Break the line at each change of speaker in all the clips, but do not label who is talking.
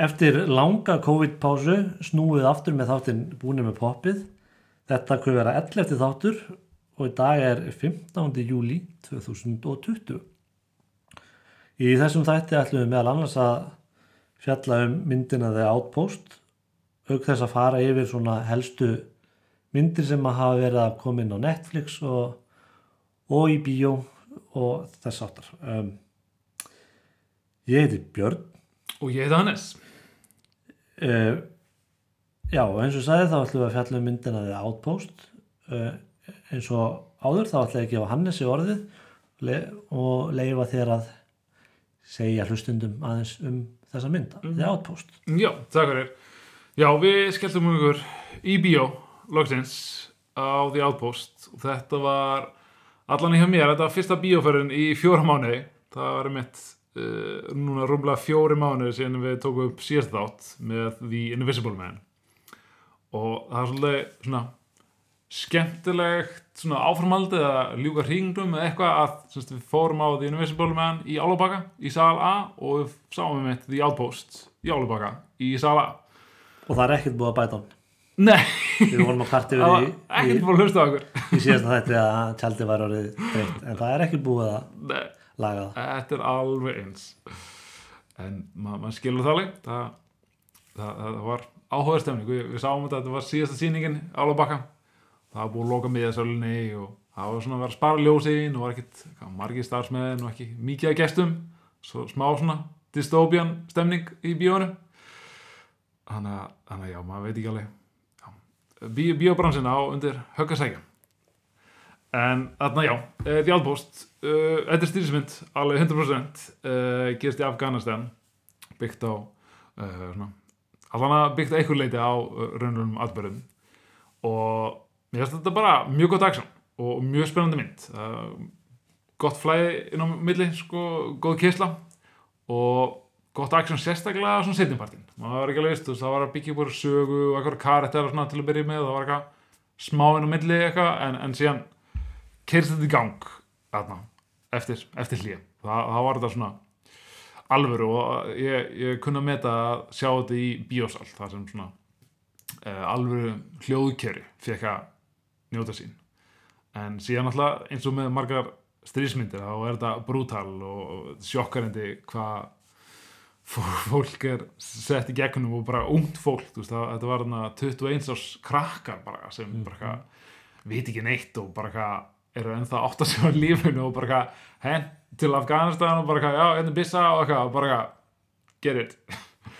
Eftir langa COVID-pásu snúið aftur með þáttinn búinir með poppið. Þetta kuð vera 11. þáttur og í dag er 15. júli 2020. Í þessum þætti ætlum við meðal annars að fjalla um myndina The Outpost auk þess að fara yfir svona helstu myndir sem að hafa verið að koma inn á Netflix og, og í bíó og þess áttar. Um, ég heiti Björn
Og ég heiti Hannes.
Uh, já, og eins og ég sagði þá ætlum við að fjalla um myndina þegar Outpost uh, eins og áður þá ætlum við að gefa Hannes í orðið le og leifa þér að segja hlustundum aðeins um þessa mynda, mm.
Mhm.
The Outpost
Já, takk fyrir. Já, við skelltum um ykkur í bíó, loksins, á The Outpost. Og þetta var, allan í hjá mér, þetta var fyrsta bíóferðin í fjóra mánuði. Það var mitt uh, núna rúmlega fjóri mánuði síðan við tókum upp síðast þátt með The Invisible Man. Og það var svolítið svona skemmtilegt svona áframhaldið að ljúka hringum eða eitthvað að semst, við fórum á The Invisible Man í Álubaka í sal A og við sáum við mitt The Outpost í Álubaka í sal A
og það er ekkert búið að bæta hann
Nei,
við vorum að kvarta
það var
yfir í,
ekkert búin að hlusta á okkur
í, í síðasta þætti að tjaldið var orðið dreitt en það er ekkert búið að
Nei,
laga það
þetta er alveg eins en ma maður skilur það alveg það, það, það var áhugaður stemning við, við sáum þetta að þetta var síðasta sýningin Álubaka það var búið að loka miðasölunni og það var svona að vera að spara ljósin og var ekkit hvað, margir starfsmenn og ekki mikið að gestum svo smá svona dystopian stemning í bíóinu þannig að, þannig að já, maður veit ekki alveg já. Bí, bíóbransin á undir höggasækja en þarna já, eh, The Outpost uh, þetta er stýrismynd, alveg 100% uh, gerist í Afghanistan byggt á uh, svona, allan að byggt að einhver leiti á uh, raunlunum atbyrðum og mér finnst þetta bara mjög gott aksjón og mjög spennandi mynd uh, gott flæði inn á milli sko, góð kisla og gott aksjón sérstaklega svona setjumpartin maður var ekki alveg veist, þú veist, það var að byggja upp úr sögu og eitthvað karakter og svona til að byrja með það var eitthvað smá inn á milli eitthvað en, en síðan keyrst þetta í gang þarna, eftir, eftir hlýja það, það var þetta svona alvöru og ég, ég kunna meta að sjá þetta í bíósal það sem svona uh, alvöru hljóðkerri fekk að njóta sín en síðan alltaf eins og með margar strísmyndir þá er þetta brútal og sjokkarendi hvað fó- fólk er sett í gegnum og bara ungt fólk þú veist, það, þetta var þarna 21 árs krakkar bara sem bara eitthvað veit ekki neitt og bara eitthvað eru ennþá átt að sjá lífinu og bara eitthvað henn til Afganistan og bara eitthvað já, hérna er byssa og eitthvað og bara eitthvað get it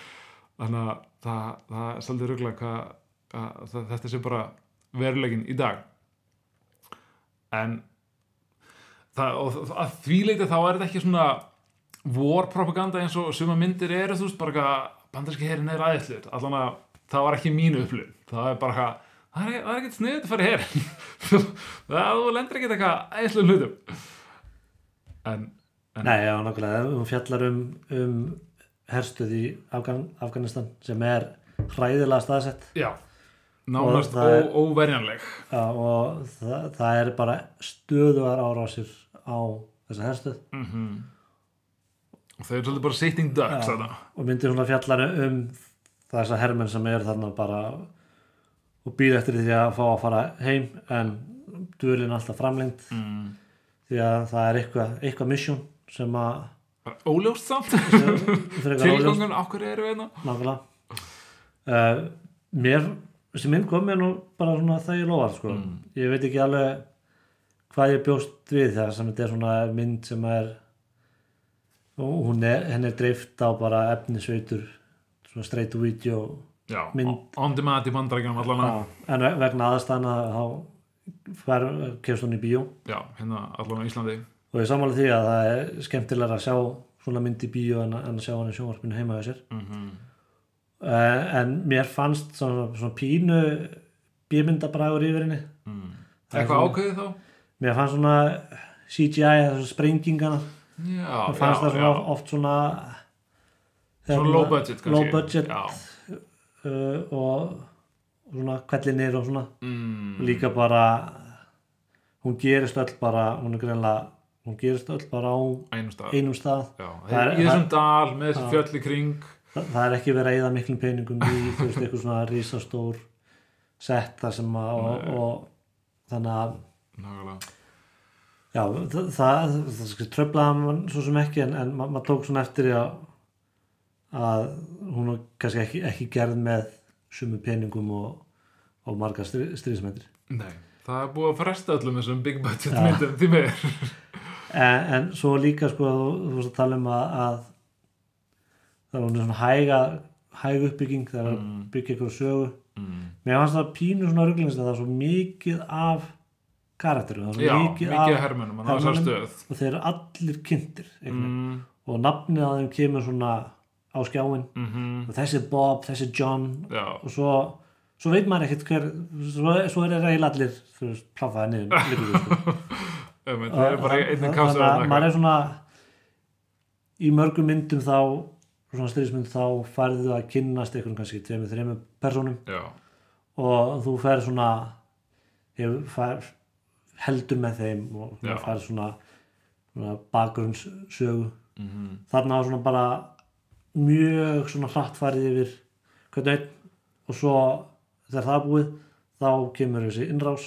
þannig að það, það er svolítið rugglega hvað að það- þetta sé bara verulegin í dag en það, og, þ- að því leiti þá er þetta ekki svona war propaganda eins og suma myndir eru þú veist bara eitthvað bandarski herin er aðeinslur allan að það var ekki mínu upplun það er bara eitthvað það er, það er ekkert sniðið að fara í herin það þú lendir ekkert eitthvað aðeinslur hlutum en
Nei, já, nákvæmlega, hún fjallar um, um herstuð í Afgan Afganistan sem er hræðilega staðsett
já nánast
það er-
ó- óverjanleg
Já, og það, það er bara stöðuar árásir á þessa herstöð
Mhm. og þau eru svolítið bara sitting ducks þarna
og myndir svona fjallar um þessa hermenn sem er þarna bara og býð eftir því að fá að fara heim en duðlinn alltaf framlengd mm. því að það er eitthvað, eitthvað misjón sem að
Bara óljóst samt
frekar óljóst.
tilgangun, okkur eru við hérna
nákvæmlega uh, mér, þessi mynd kom mér nú bara svona það ég lofað sko. ég veit ekki alveg hvað ég bjóst við þegar sem þetta er svona mynd sem er og hún er, henni er dreift á bara efnisveitur svona straight to video
Já,
Mynd.
on demand í bandarækjum allan að,
en ve- vegna aðastana þá fer, kemst hún í bíó
já, hérna allan að Íslandi
og ég sammála því að það er skemmtilega að sjá svona mynd í bíó en að, en að sjá hann í sjónvarpinu heima við sér mm
Mhm.
Eh, en mér fannst svona, svona pínu bímyndabræður yfir henni Það er
Eitthvað ákveðið þá?
mér fannst svona CGI eða svona sprengingana
Já,
mér fannst
já,
það svona
já,
oft svona
Svona low budget kannski
low budget
Já,
uh, og svona kvellinir og svona
mm,
líka bara hún gerist öll bara hún er greinlega hún gerist öll bara á
einum stað
einum stað
Já,
Það er-
í þessum dal með þessi fjöll í kring
það, það er ekki verið að eyða miklum peningum í þú veist, eitthvað svona risastór sett þar sem að og, og þannig að
nákvæmlega
Já, það, það, það sko, tröflaði hann svo sem ekki en, en ma maður tók svona eftir því að, að hún var kannski ekki, ekki gerð með sumu peningum og, og marga strí, stríðsmyndir.
Nei, það er búið að fresta öllum þessum big budget
Já.
myndum því meður
En, en svo líka sko þú, þú veist að tala um að, að það var svona hæga, hæg uppbygging það var að byggja ykkur sögu.
mm.
Mér fannst það pínu svona rugglings það var svo mikið af karakterum, það var svo
Já,
mikið,
mikið af hermönum, hann á þessar
hermönnum
stöð
og þeir eru allir kynntir einhvern veginn.
mm.
og nafnið að þeim kemur svona á skjáin
Mm
og þessi er Bob, þessi er John
Já,
og svo, svo veit maður ekkert hver svo, svo er það eiginlega allir þú veist, pláfaði niður liggur, við, sko.
um, það er bara einnig
Þannig
kassa
að maður er svona í mörgum myndum þá svona styrismynd þá færðu að kynnast einhvern kannski tveimur, þreimur personum
Já,
og þú fer svona hefur, fær, heldur með þeim og
Já.
svona fær svona, svona bakgrunnsögu
mm
þarna var svona bara mjög svona hratt farið yfir hvern og einn og svo þegar það er búið þá kemur þessi innrás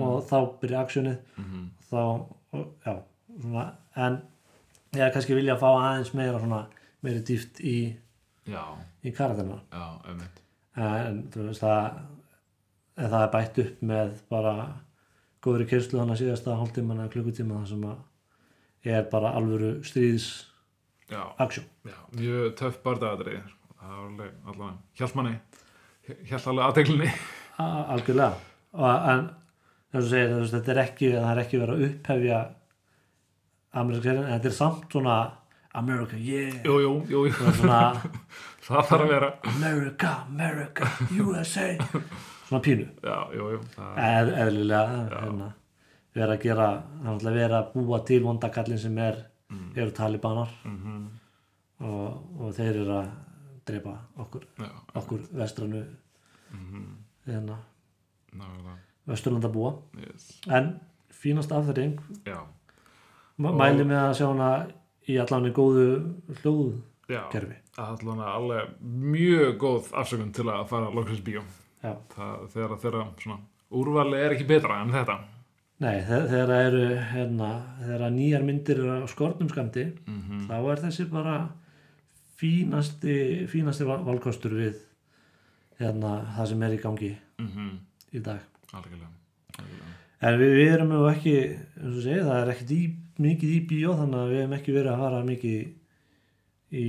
og þá byrja aksjónið þá, og, já, svona en ég hefði kannski vilja að fá aðeins meira svona, meiri dýft í,
já,
í karatina
já, um
en þú veist það en það er bætt upp með bara góðri kynslu þannig að síðasta hálftíman eða klukkutíma þar sem að er bara alvöru stríðs
Já,
aksjón
já, mjög töff bardagadrið Það var alveg, allavega, hjælt manni Hjælt alveg aðteglinni
A- algjörlega og en þess að segja þess, þetta er ekki það er ekki verið að upphefja amerísk serien en þetta er samt svona America yeah
Jú, jú, jú, jú,
Það er svona
það þarf að vera
America, America, USA svona pínu
Já, jú, jú, það
Eð, eðlilega hérna, vera að gera hann ætla að vera að búa til vondakallin sem er eru talibanar
mhm,
og, og þeir eru að drepa okkur,
Já,
okkur vestranu
mhm,
hérna,
nákvæmlega
vesturlandabúa
yes.
en fínast af þeirring
Já,
Ma-
Og-
Mæli með að sjá hana í allan í góðu hljóðkerfi.
já, allan að alveg mjög góð afsökun til að fara loksins bíó
Já.
það, þegar þeirra svona úrvali er ekki betra en þetta
Nei, þe- þegar það eru, hérna, þegar að nýjar myndir eru á skornum skamti,
Mhm.
þá er þessi bara fínasti, fínasti val- valkostur við hérna, það sem er í gangi
mm -hmm.
í dag.
algjörlega algjörlega.
En við, við erum nú ekki, eins og segja, það er ekkert í, mikið í bíó, þannig að við hefum ekki verið að fara mikið í,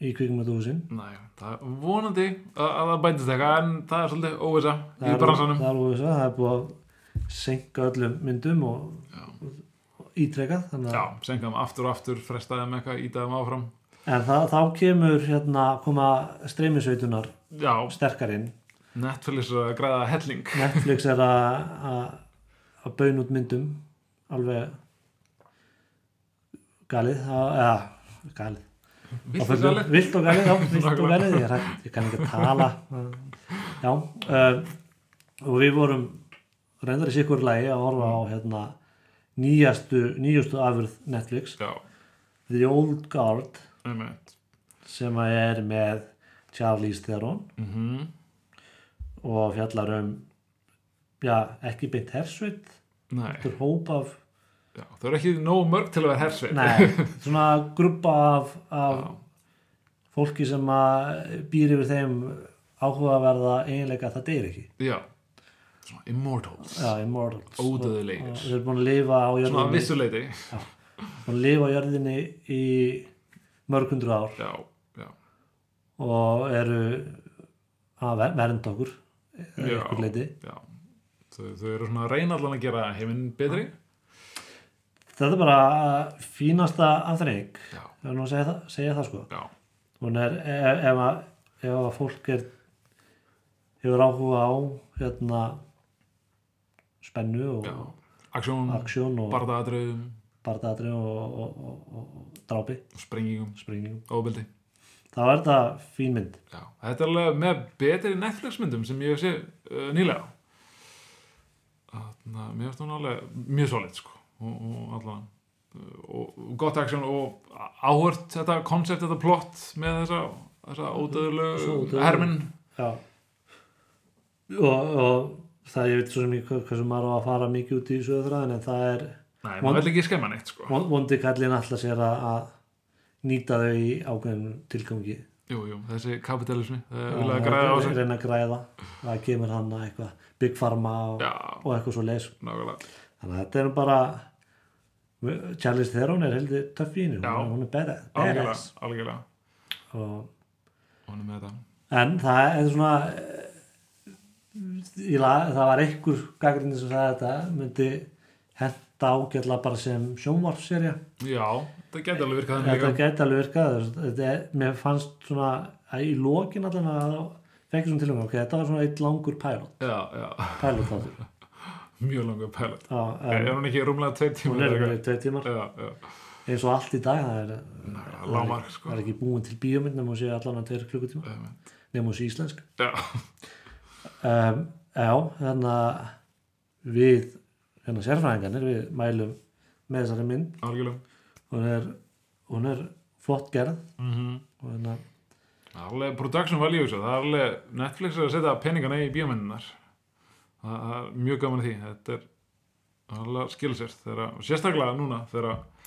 í kvikmyndahúsin.
Næ, það er vonandi að, að það bætist eitthvað en það er svolítið óvisa
það
í
er-
bransanum
það er, óvissa, það er búið að senka öllum myndum og, og ítrekað þannig
Já,
að,
senkaðum aftur og aftur frestaðum eitthvað, ítaðum áfram
en það, þá kemur hérna, koma streymisveitunar
Já,
sterkar inn
Netflix er að græða helling
Netflix er að að- að baun út myndum alveg galið það- eða galið
Viltu sælið?
vilt og galið, já, vilt og galið ég, er hægt, ég kann ekki að tala já uh, og við vorum reyndar í sikkur lagi að horfa á hérna, nýjastu, nýjustu afurð Netflix,
Já,
The Old Guard
einmitt
sem að er með Charlize Theron
mm
og fjallar um já, ekki beint hersveit
Nei,
þetta er hóp af,
já, þau eru ekki nóg mörg til að vera hersveit
nei, svona grúpa af, af
Já,
fólki sem að býr yfir þeim áhugaverða eiginleika að það deyr ekki
já Svona immortals
Já, Immortals
Ódauðlegir.
Og- og Þeir eru búin að lifa á
Oh, Svona að
jörðinni
vissu leiti
búin að lifa á jörðinni í mörg hundru ár
Já, já,
og eru að ver- vernda okkur eða
Já.
ykkur leiti
já Þau, þau eru svona að reyna allan að gera heiminn betri
Þetta er bara fínasta afþreying
Já,
Það er nú að segja það, segja það sko
já,
Hún er, ef, ef, að, ef að fólk er hefur áhuga á hérna spennu og
já Aksjón,
aksjón og
bardaðadröðum,
bardaðri og, og, og, og, og drápi,
sprengingum,
springingum
óbildi
þá er þetta fín mynd
Já, þetta er alveg með betri Netflix myndum sem ég hef séð uh, nýlega Þannig að mér finnst hún alveg mjög solid sko og, og allan eh, og og gott action og áhört þetta koncept, þetta plott með þessa þessa
Mhm. Svo
ódöðlegu
ódauðlegu.
herminn
Já og, og það ég veit svo sem ég hversu maður á að fara mikið út í söðurþræðin en það er
Nei,
Von-
maður vil ekki skemma neitt sko
von- vondi kallin alltaf sér að, að nýta þau í ákveðin tilgangi
Jú, jú, þessi kapitalismi Það er vilja
að
að græða á sig
reyna að græða það kemur hann að eitthvað Big Pharma og,
Já,
og eitthvað svo leis
nákvæmlega
þannig að þetta er nú bara Charlize Theron er heldur töff í henni hún,
Já.
er- hún er badass-
Algjörlega,
badass
algjörlega
og
Hún er með þetta
En það er svona eh, ég la, það var einhver gaggrinni sem sagði að þetta myndi henda ágætla bara sem sjónvarpserja
Já, það geti alveg virkað þannig
þetta
líka
gæti alveg virkað þú veist, þetta er, mér fannst svona að í lokin allan að það fekk svona tilhengi ok, þetta var svona eitt langur pælót
Já, já,
pælót þáttur
mjög langur pælut
Já,
Er
en
hún ekki rúmlega tveir
hún
tíma
er verið tvei tímar
Já, já,
eins og allt í dag það er,
nákvæmlega, lámark
það
sko
er ekki búin til bíómynd nema hún sé allan að tveir klukkutíma
Einmitt.
nema hún sé íslensk
Já,
um, Já, þannig að við, hérna sérfræðingarnir við mælum með þessari mynd
algjörlega
hún er, hún er flott gerð
Mhm
og hérna,
Það er alveg production value svo, það er alveg Netflix er að setja peningana í bíómyndunar það það er mjög gaman að því þetta er það er alveg skilsert þeirra, og sérstaklega núna þegar að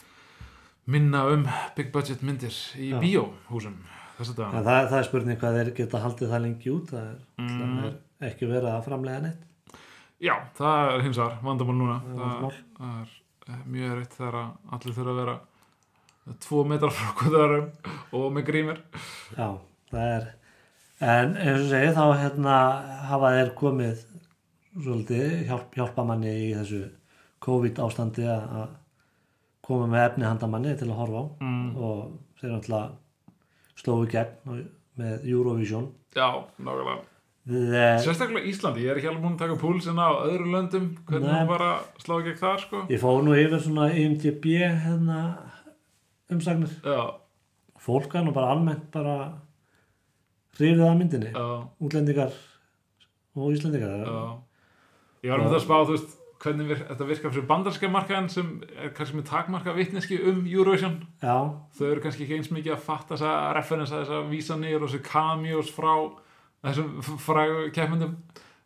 minna um big budget myndir í
Já.
bíóhúsum þess að
ja, það, það er spurning hvað þeir geta haldið það lengi út það er, mm.
mm,
er ekki verið að framlega neitt
já, það er hins vegar vandamál núna
Það er
það,
vandamál.
það er eh, mjög erfitt þegar að allir þurfa að vera tvo metrar frá kvöðarum og með grímir
Já, það er en eins og segi þá hérna hafa þeir komið svolítið hjálp, hjálpa manni í þessu COVID ástandi að að koma með efni handa manni til að horfa á
mm,
og þeir náttúrulega slóðu í gegn og- með Eurovision eh,
já, nákvæmlega
Þeir,
Sérstaklega Íslandi, ég er ekki alveg búin að taka púlsinn á öðru löndum, hvernig
Nei.
Nei. bara slá gegn þar, sko.
ég fóð nú yfir svona E IMDB hérna umsagnir
Já,
fólk hann og bara almennt bara hrifið að myndinni
já,
útlendingar og íslendingar
já. Ég var með það að spá, þú veist, hvernig vir, þetta virkar fyrir bandarska markaðan sem er kannski með takmarka vitneski um Eurovision.
já,
Þau eru kannski ekki eins mikið að fatta þessa referensa, þessa vísanir og þessu cameos frá þessum f- frægu keppmyndum.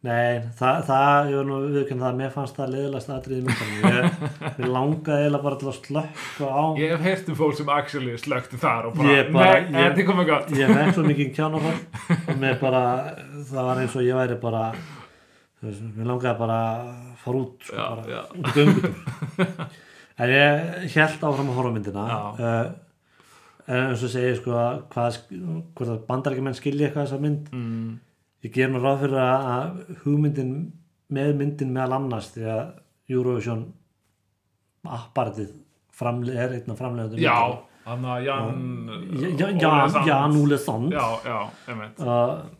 nei, það, það ég var nú viðkjörn það að mér fannst það leiðilegast aðrið í myndinni ég, ég langaði eiginlega bara til að slökka á
Ég hef heyrt um fólk sem actually slökti þar og bara,
Ég bara-
nei,
ég-
þetta er komið gott.
ég fekk svo mikið kjánafall og mér bara, það var eins og ég væri bara þú veist, mér langaði bara að fara út sko,
Já,
bara,
já.
út í göngutur en ég held áfram að horfa á myndina
Já.
uh, en eins og segi sko að hvað, hvort að bandarækjumenn skilja eitthvað þessa mynd
Mm,
ég ger nú ráð fyrir að að hugmyndin með myndin meðal annars því að Eurovision apparatið framle- er einn af framlegundum
já, hann að Jan...
Jan,
Óli
Jan,
Sands.
Jan Úlesson
Já, já, einmitt.
og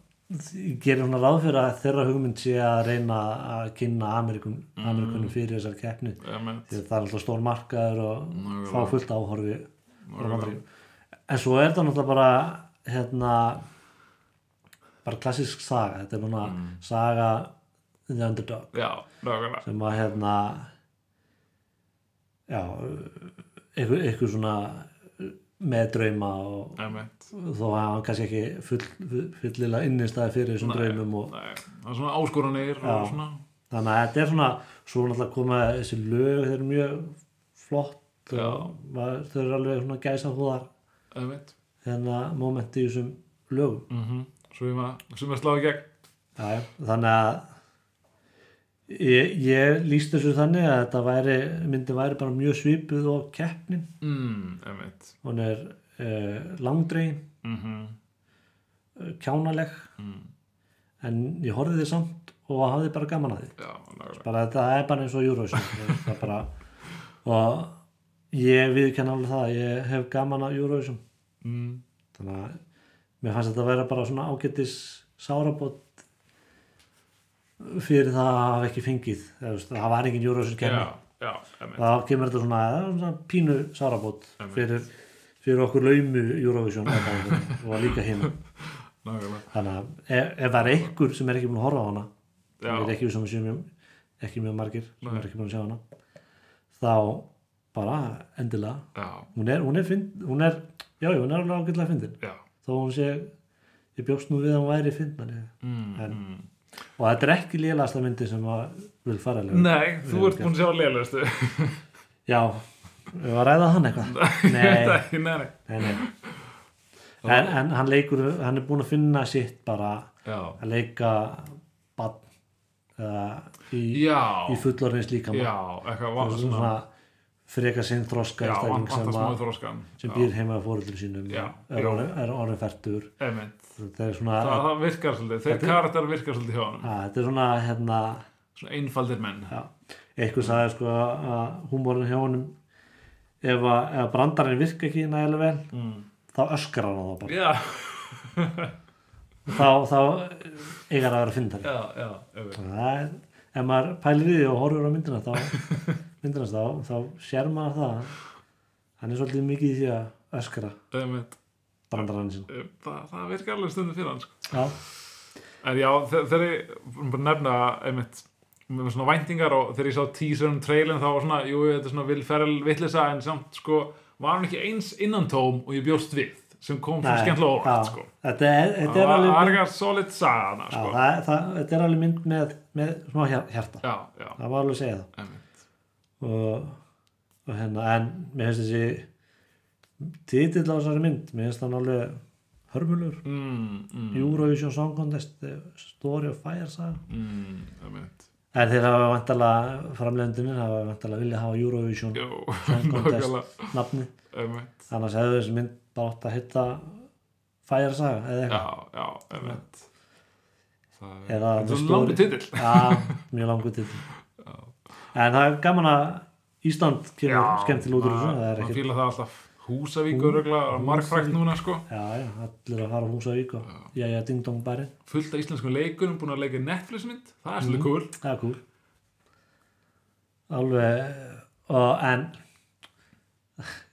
gerir svona ráð fyrir að þeirra hugmynd sé að reyna að kynna Amerikun,
Mm.
Amerikunum fyrir þessar keppni
Emmett,
því að það er alltaf stór markaður og
Nákvæmlega.
fá fullt áhorfi frá
Nákvæmlega.
Bandaríkjunum. en svo er það náttúrulega bara hérna bara klassisk saga þetta er núna saga The Underdog
já, nákvæmlega
sem að hérna já eitthvað, eitthvað svona með drauma og
Emmett,
þó að hann kannski ekki full, fullilega innistæði fyrir þessum draumum og
nei, það er svona áskoranir og
Já.
svona
þannig að þetta er svona svo náttúrulega koma þessi lög þeir eru mjög flott
Já.
og maður, þau eru alveg svona gæsa húðar
Emmett,
þennan momenti í þessum lögum
mm svo ég maður sem er sláð í gegn
Æ, þannig að ég, ég líst þessu þannig að þetta væri, myndi væri bara mjög svipuð og keppnin
mm, Emmett
hún er uh, langdregin
mm
eh, kjánaleg
mm,
en ég horfði þið samt og hafði bara gaman að því
Já, nákvæmlega
bara þetta er bara eins og Eurovision þú veist, það er bara, og ég viðkenn alveg það ég hef gaman að Eurovision
mm,
þannig að mér fannst þetta að vera bara svona ágætis sárabót fyrir það að hafa ekki fengið eða, þú veist, það var engin Eurovision kemni
Já, já, Emmett
þá kemur þetta svona, það er svona pínu sárabót
Einmitt.
fyrir, fyrir okkur laumu Eurovision og líka hinn
Nákvæmlega,
þannig að ef, ef það er einhver sem er ekki búin að horfa á hana
Já.
það er ekki sem sem mjög, ekki mjög margir sem
Nei.
er ekki búin að sjá hana þá bara endilega
já,
hún er, hún er, fynd, hún er já, já, hún er alveg ágætlega fyndin
já
þó hún sé ég bjóst nú við að hún væri finnari
mm,
En-
mm.
og þetta er ekki lélasta myndi sem að vil fara alveg
Nei, þú ert búin að sjá leiðlustu
já, við var að ræða hann eitthvað nei,
Nei, nei
nei, nei. En, en hann leikur hann er búin að finna sitt bara
Já,
að leika bann uh, í,
já,
í fullorðins líka
já eitthvað
og
vant
svona frekar sinn þroska
Já, vant-
einstakling
vantar
sem,
smá
að,
þróskan
sem
Já,
býr heima á fóruldrum sínum
Já,
er,
já.
orðin- er orðin færtur
einmitt.
þetta er svona,
Það, það virkar svolítið, þeir karakter virkar svolítið hjá honum
að, þetta er svona hérna,
Svona einfaldir menn
já, eitthvað sagði sko að húmórin hjá honum ef, að, ef brandarinn virka ekki nægilega vel
mm.
þá öskar hann á það bara
Já,
þá, þá eigar að vera fyndari
já, já, einmitt.
það er ef maður pælir í því og horfur á myndina þá, myndina þá, þá sér maður það hann er svolítið mikið í því að öskra
einmitt Eh,
brandarann sinn
Það, það virkar alveg stundum fyrir hann sko.
já,
En já, þe- þegar ég um, bara að nefna einmitt með svona væntingar og þegar ég sá teaserinn trailin þá var svona, jú, þetta er svona vilferðal vittlisa en samt sko, var hún ekki eins innantóm og ég bjóst við sem kom svo
Nei,
skemmtilega á óvart
já.
sko.
þetta er, þetta
Það
er
var
alveg mynd, já,
argar solid sagana sko.
það, er- það, þetta er alveg mynd með, með smá hjar- hjarta
Já, já,
það var alveg að segja það
einmitt
og, og hérna, en mér finnst þessi titill á þessari mynd mér finnst hann alveg hörmulur
mm, mm,
Eurovision Song Contest eh, Story of Fire saga
mm, einmitt
en þeir hafa vantalega framlegundinir hafa vantalega viljað hafa Eurovision
Jú,
Song
nokkala
Contest nafni
einmitt
annars hefðu þessi mynd bara átt að hitta Fire saga eða eitthvað
Já, já, einmitt Það er
Eða
þetta er
með
svo langur
stóri-
titill
Já, mjög langur titill En það er gaman að Ísland kemur skemmtilega út úr þessu Það er
Man
ekkert
fýla það alltaf Húsavík öruglega, margfrækt núna sko
Já, já, allir að fara á Húsavík og já, já, ding dong bærin
fullt af íslenskum leikunum búin að leika í Netflixmynd, það er
Mhm.
svolítið cool
Það er kúl Alveg og, En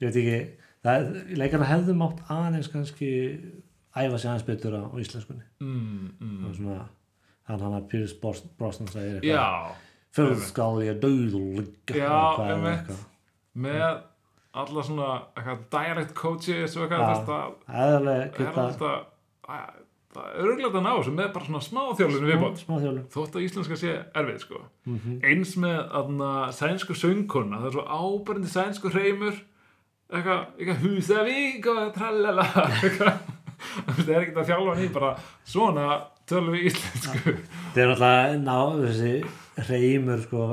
ég veit ekki það, leikarna hefðu mátt aðeins kannski æfa sig aðeins betur á, á íslenskunni
mm, mm.
mm. svona, hann hann að Pyrrhus Brosnan segir eitthvað
já,
Fyrst skal ég döðul
Já, einmitt. með alla svona eitthvað, direct coaches og
Já.
eitthvað þess að
Það er alveg
það er
geta
alltaf að- það er öruglega að ná þessu með bara svona smá þjálfinu viðbót
smá þjálfun
þótt að íslenska sé erfið sko eins með aðna sænsku söngkona það er svo ábærandi sænsku hreimur eitthvað, eitthvað húsavík og trallala eitthvað það er ekkert að þjálfa hann í bara svona tölum við íslensku
það er náttúrulega ná þessi reymur sko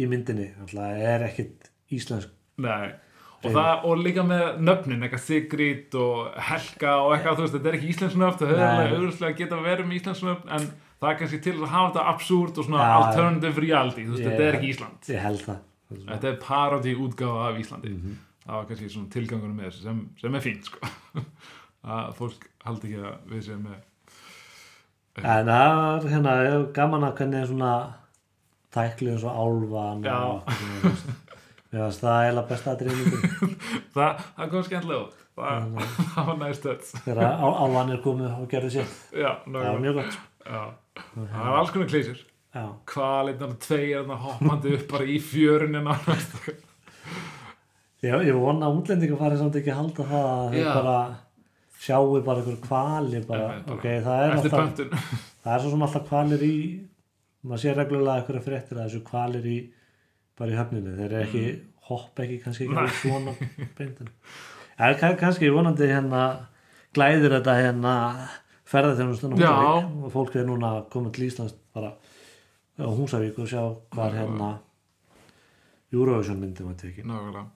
í myndinni náttúrulega er ekkit íslensk
Nei, og,
Hreinu.
það, og líka með nöfnin, eitthvað Sigrid og Helga og eitthvað, þú veist, þetta er ekki íslensk nöfn, það
Nei.
hefur auðvitað geta verið með íslensk nöfn, en það er kannski til að hafa þetta absúrt og
Já,
svona
já.
alternative reality, þú veist,
Ég-
þetta er ekki Ísland.
ég held það
Þetta er parodi útgáfa af Íslandi.
Mhm.
Það var kannski svona tilgangunum með þessu sem, sem er fínt, sko. að fólk haldi ekki að við séum með,
en það var hérna gaman að hvernig svona tæklu eins og álvan
Já.
og okkur, þú veist. mér finnst það eiginlega besta að dreifningu
það, það kom skemmtilega út, það, það var næst öll.
þegar á- álvan er komið og gerði sér það
Já,
var
nákvæmlega.
mjög gott sko.
Já. það var alls konar klísir.
já,
kvalirnar tveir þarna hoppandi upp bara í fjörunni hérna, nánast
ég, ég vona að útlendingar farið samt ekki að halda það að
Já.
þau bara sjáu bara einhver kvali bara,
Nei, bara
ok, það er
eftir
alltaf
pöntun
það er svo sem alltaf kvalir í maður sér reglulega eitthvað fréttir að þessu kvalir í bara í höfninu þeir eru ekki, hoppa ekki kannski ekki alveg svona beintin það er kann- kannski vonandi hérna glæðir þetta hérna ferðarþjónustunum
Já.
og fólk er núna komið til Íslands bara á Húsavík og sjá hvað hérna Eurovision myndi maður tekið
nákvæmlega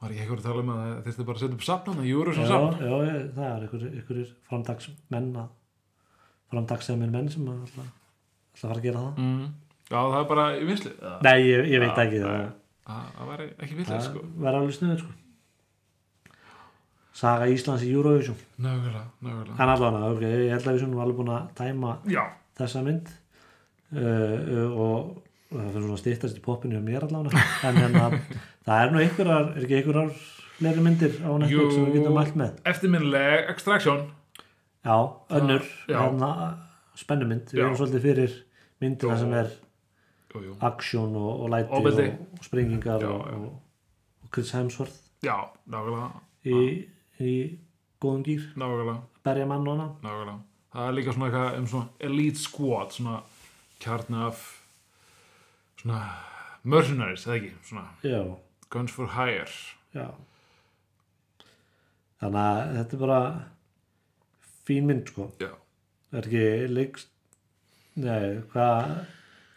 var ekki eitthvað að tala um að þeir þurftu bara að setja upp safnan að júru
Já,
sem safn
já, ég- það er einhverjir einhverjir framtagsmenn að framtagssemir menn sem að ætla, ætla að fara að gera það
mm. já það er bara í vinslu það
Nei, ég, ég veit ekki það
það væri ekki vinslu
Það
sko
verður alveg snuðið sko Saga Íslands í Eurovision
nákvæmlega, nákvæmlega
En allan að, ok, ég held að við svona var alveg búin að tæma
já,
þessa mynd uh, uh, og og það fyrir svona að stýttast í poppinu hjá mér allan en hérna, það er nú einhverjar er ekki einhverjar fleiri myndir á Netflix sem við
Jú.
getum mælt með
eftirminnileg extraction
Já, önnur,
já.
hérna spennumynd, við
Já.
erum svolítið fyrir myndina
Jú.
sem er
jú, jú.
aksjón og, og læti
Ofbeldi.
og, og sprengingar
Já,
og,
já.
og- og Chris Hemsworth
já, nákvæmlega
Ah. í, í góðum gýr
nákvæmlega
berja mann og hana
nákvæmlega það er líka svona eitthvað um svona elite squad svona kjarni af svona mercenaries eða ekki svona
já,
guns for hire
já þannig að þetta er bara fín mynd sko
já
er ekki leikst nei, hvað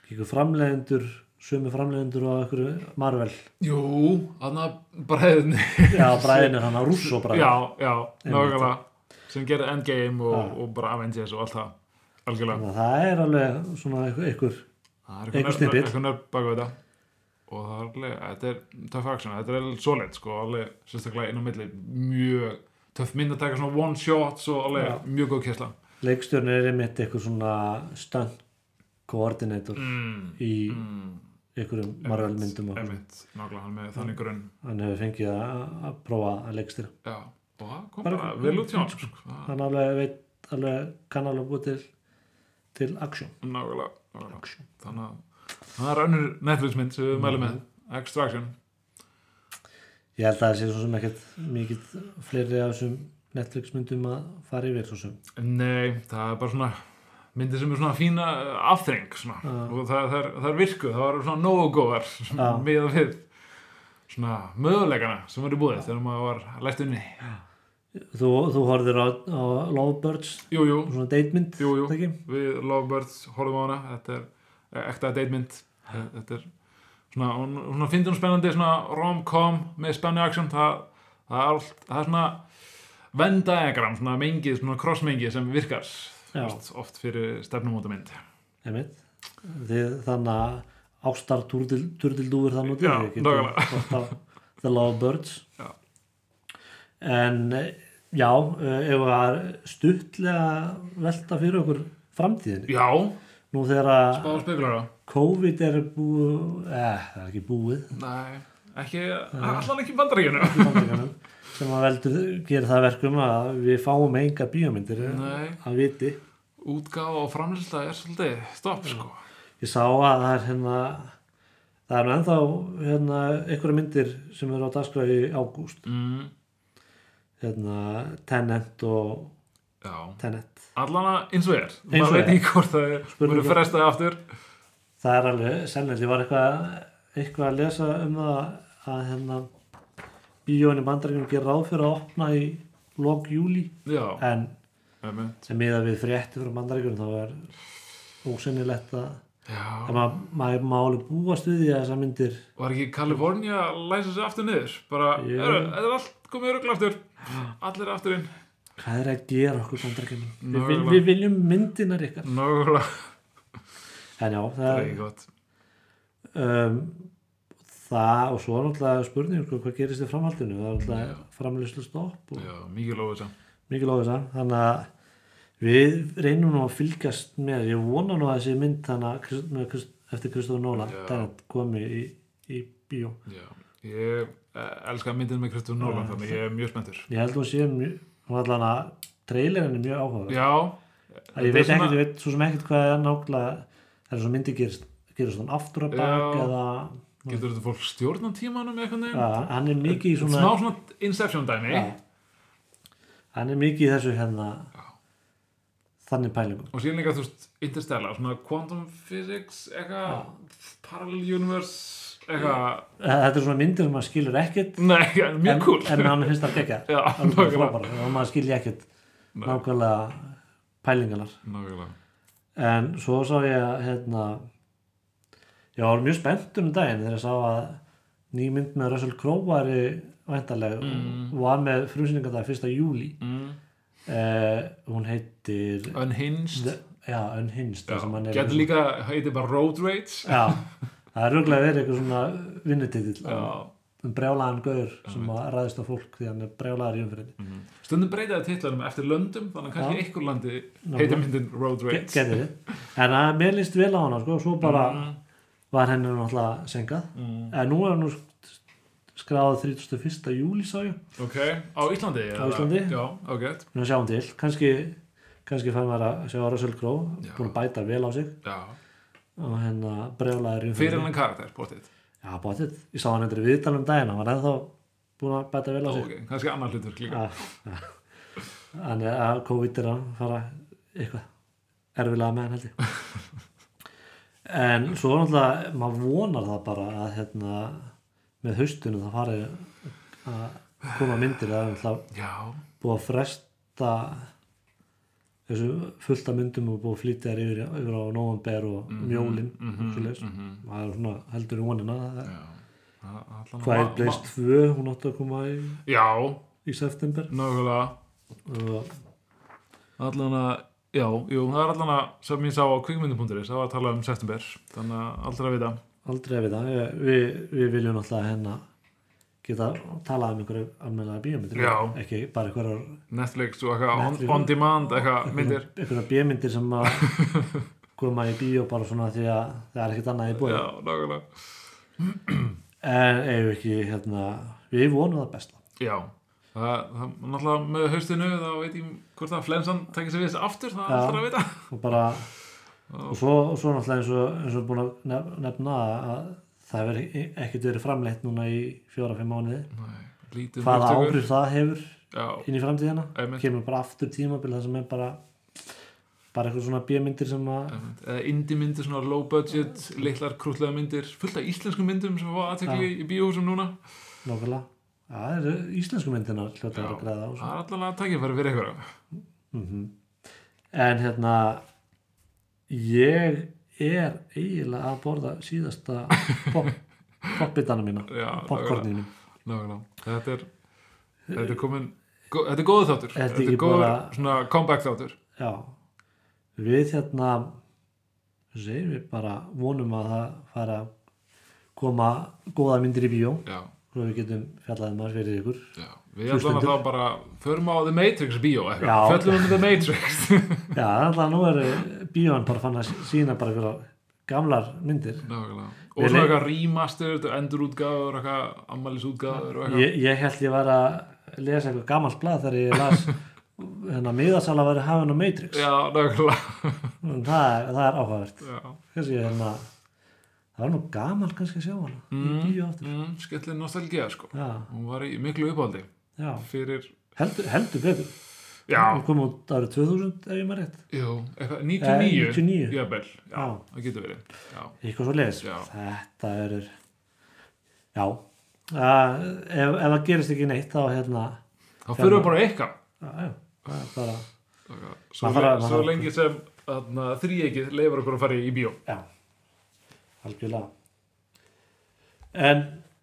ekki framleiðendur sömu framleiðendur og einhverju Marvel
jú aðna bræðinni
já, bræðinu hann að Russo bræðinu
já já nákvæmlega sem gerði Endgame og,
Já.
og bara Avengers og allt það algjörlega
þannig að það er alveg svona einhver, einhver
það er
Einhver
eitthvað nörd-
snippet.
eitthvað nörd bak við þetta og það er alveg þetta er töff action þetta er alveg solid sko alveg sérstaklega inn á milli mjög töff mynd að taka svona one shots og alveg
Já.
mjög góð kessla
leikstjórn er einmitt einhver svona stunt coordinator
mm.
í
Mm.
einhverjum Marvel myndum og
Emitt, nákvæmlega hann með þannig grunn
hann hefur fengið að að prófa að leikstýra
Já, og það kom
Bara-
bara vel út hjá hann sko. Það-
hann alveg veit alveg kann alveg búið til til action,
Nákvæmlega, nákvæmlega
action.
Þannig að það er önnur Netflix mynd sem við mælum með Extraction
ég held að það sé svo sem ekkert mikið fleiri af þessum Netflix myndum að fara yfir svo sem
Nei, það er bara svona myndir sem er svona fína eh, afþreng svona.
Já.
og það, það, er, það er virkuð það var svona nógu góðar
Já.
með að við svona möguleikana sem voru búið þegar maður var læst inni
Þú, þú horfðir á, á Lovebirds
Jú, jú,
svona datemynd
jú, jú
er það ekki?
við Lovebirds horfum á hana þetta er eh, ekta datemynd þetta er svona, hún, hún finnst hún spennandi svona rom-com með spennu action það, það, er, allt, það er svona vendaegram, svona mengið svona crossmengið sem virkar
Já.
oft, oft fyrir stefnumótamynd
Einmitt. Þið, þannig að ástar turdildúfur þannig
Já, nákvæmlega.
nákvæmlega The Lovebirds
Já.
en eh, já eh, ef það er stuttlega velta fyrir okkur framtíðinni
Já,
nú þegar að
spá spekulara
COVID er búið eh, það er ekki búið
Nei, ekki, allan ekki í bandaríkinu
í Bandaríkjunum, sem að veldur gera það að verkum að við fáum enga bíómyndir eh,
Nei,
að viti
útgáfa og framlýsla er svolítið stopp sko
Ég sá að það er hérna það er nú ennþá hérna einhverja myndir sem eru á dagskrá í ágúst
mm,
hérna Tenet og
Já,
Tenet
allana eins og er
Eins og
maður veit
er.
ekki hvort það er
Spurning
verið
hvort-
frestaði aftur
það er alveg sennilegt, ég var eitthvað eitthvað að lesa um það að hérna bíóin í bandaríkjum gerir ráð fyrir að opna í lok júli
Já,
en
emmi
sem miða við frétti frá bandaríkjum þá er ósennilegt að
Já,
að maður maður má alveg búast við því að þessar myndir
var ekki Kalifornia að læsa sig aftur niður? Bara,
Jú.
yeah. þetta er allt komið rögl aftur. Allir aftur inn.
hvað er að gera okkur bandaríkjum við, vil,
Nákvæmlega.
við viljum myndinar ykkar
Nákvæmlega.
en já,
Það
það
er
er
ekki gott.
um, það og svo er náttúrulega spurning sko, hvað gerist í framhaldinu það er náttúrulega framlýslu stopp og
Já, mikið lofið þess
mikið lofið það þannig að við reynum nú að fylgjast með ég vona nú að þessi mynd þannig að Krist- með Krist- eftir Kristofur Nóla
Já.
þannig komi í, í bíó
Já, ég eh, elska myndin með Kristofur Nólan,
Já,
þannig ég er mjög spenntur.
ég held hún sé mjög hún allan að trailerin er mjög áhuga
Já.
ég veit ekkert, ég veit svo sem ekkert hvað er nákvæmlega það er svo myndi gerist gerist hún aftur að bak
Já.
eða
Getur þetta fólk stjórna tímanum eitthvað neginn?
að, hann er mikið í svona
Smá svona Inception dæmi.
Já. hann er mikið í þessu hérna þannig pælingum
Og síðan líka, þú veist, Interstellar, svona quantum physics, eitthvað, parallel universe, eitthvað.
þetta er svona myndir sem maður skilur ekkert
Nei, en
en,
mjög cool.
en hann finnst það ekki
Já, nákvæmlega.
og maður skilja ekkert
Nei.
nákvæmlega pælingarnar
Nákvæmlega.
en svo sá ég að hérna ég var mjög spennt um daginn þegar ég sá að ný mynd með Russell Crowe var væntaleg
Mm.
og var með frumsýningar það 1. júli
Mm.
eh, hún heitir
Unhinged.
The, já, Unhinged þar sem hann er-
Getur líka, heiti bara Road Rage
Já, það er rauglega verið eitthvað svona vinnutitill
Já.
um brjálaðan gaur sem að ræðist á fólk því hann er brjálaðar í umfyrinni
Mhm. Stundum breytaði titlanum eftir löndum Þannig að kannski
Já.
einhver landi
Ná,
heiti
ná.
myndin Road
Ge-
Rage
Getið þið? En að mér líst vel á hana sko, svo bara
Mm,
var henni náttúrulega senkað
mm.
en nú er hann nú sk- skráð 31. júli sá ég
Ok, á Íslandi
Á
eða?
Íslandi.
Já, ágætt
nú sjáum um til, kannski kannski fær maður að sjá Russell Crowe
Já.
búin að bæta vel á sig
Já,
og henni brjálaðar í
fyrir
umfyrinni
hennan karakter, bóttið
Já, bóttið, ég sá hann eitthvað viðtalum daginn hann var ennþá búin að bæta vel á sig
Ok, kannski annar hlutur líka
Já, já. Þannig að COVID er að fara eitthvað erfilega með hann held ég. En svo náttúrulega, maður vonar það bara að hérna, með haustunum það fari að koma myndir það er náttúrulega
Já,
búið að fresta þessu fullta myndum og búið að flytja þær yfir, yfir á november og
Mhm,
mjólin mm það er svona heldur í vonina það er-
já. Það- það ætla nú
hvað
ma-
er Blaze 2, hún átti að koma í,
ma- Já,
í september
nákvæmlega
og
Allan að, já, jú, það er allan að sem ég sá á kvikmyndum.is, það var að tala um september þannig að aldrei að vita
aldrei að vita Ég- við, við viljum náttúrulega hérna geta talað um einhverju almennilega bíómyndir
Já.
ekki bara einhverjar
Netflix og eitthvað on,
Netflix.
on demand eitthvað myndir
einhverjar bíómyndir sem að koma í bíó bara svona því að það er ekkert annað í búið
Já, nákvæmlega
en eigum við ekki hérna við vonum það besta
Já, það, það náttúrulega með haustinu þá veit ég hvort að flensan tekið sér við þessi aftur, það er
Já.
aldrei að vita
og bara og svo, og svo náttúrulega eins og, eins og búin að nef- nefna að það hefur ek- ekkert verið framleitt núna í fjóra-fimm mánuði
Nei, lítið
hvaða
móttökur.
áhrif það hefur
Já,
inn í framtíðina
Einmitt.
kemur bara aftur tímabil það sem er bara bara eitthvað svona bíómyndir sem að
eða indie myndir, svona low budget litlar krútlega myndir, fullt af íslenskum myndum sem var aðtekli í bíóhúsum núna
nákvæmlega Já, það eru íslensku myndina hljóta að vera að græða á
það er allan að takja fyrir fyrir eitthvað
mm en hérna ég er eiginlega að borða síðasta pop, popbitana mína
Já, nákvæmlega.
popcorninu
Nákvæmlega. þetta er þetta er komin, gó- þetta er góðu þáttur
Þetta er
þetta
ekki
er góður
bara-
svona comeback þáttur
Já, við hérna segir við bara vonum að það fara að koma góða myndir í bíó
já,
og við getum fjallaðið maður fyrir ykkur
já, við ætlum að þá bara förum á The Matrix bíó
Já.
eitthvað, föllum um The Matrix
Já, alltaf nú er eh, bíóan bara fann að sína bara fyrir gamlar myndir
nákvæmlega og
Við
svona
leik-
eitthvað remastered, endurútgáður eitthvað, ammælisútgáður og eitthvað
Ég, ég held ég var að lesa eitthvað gamalt blað þegar ég las hérna miðasala væri hafin á Matrix
já, nákvæmlega
en það, er- það er áhugavert
já.
Þessi ég hérna það var nú gamalt kannski að sjá hana í bíó aftur
mm, skellin nostalgía sko
Já,
hún var í miklu uppáldi
já,
fyrir,
heldur, heldur betur
já,
Hún kom út árið 2000 ef ég maður rétt.
jú, eitthvað,
Eh, 99.
99 jafnvel, já,
Já.
það getur verið já,
Eitthvað svo leiðis.
Já.
Þetta verður... Já. Uh, ef, ef það gerist ekki neitt þá hérna...
þá fyrir við bara eitthvað
Já, já. Það er bara...
Þakka.
Maður
Svo,
þarf að-
le
maður
svo
þarf að-
lengi sem þarna, þrýegið leifur okkur að fara í bíó
Já. Algjörlega. En,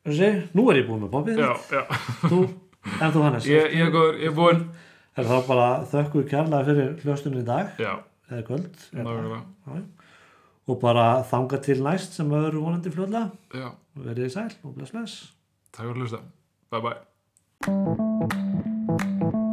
þú sé, nú er ég búinn með poppið.
Já, já,
Þú, en þú Hannes.
ég, ég, er góður, ég er búinn
Er þá bara þökkum við kærlega fyrir hljóstunni í dag,
Já,
eða kvöld. eða-
nákvæmlega
Já. Og bara þanga til næst sem við erum vonandi fljóðlega.
Já,
Verðið sæl og bless bless.
takk fyrir að hlusta Bye bye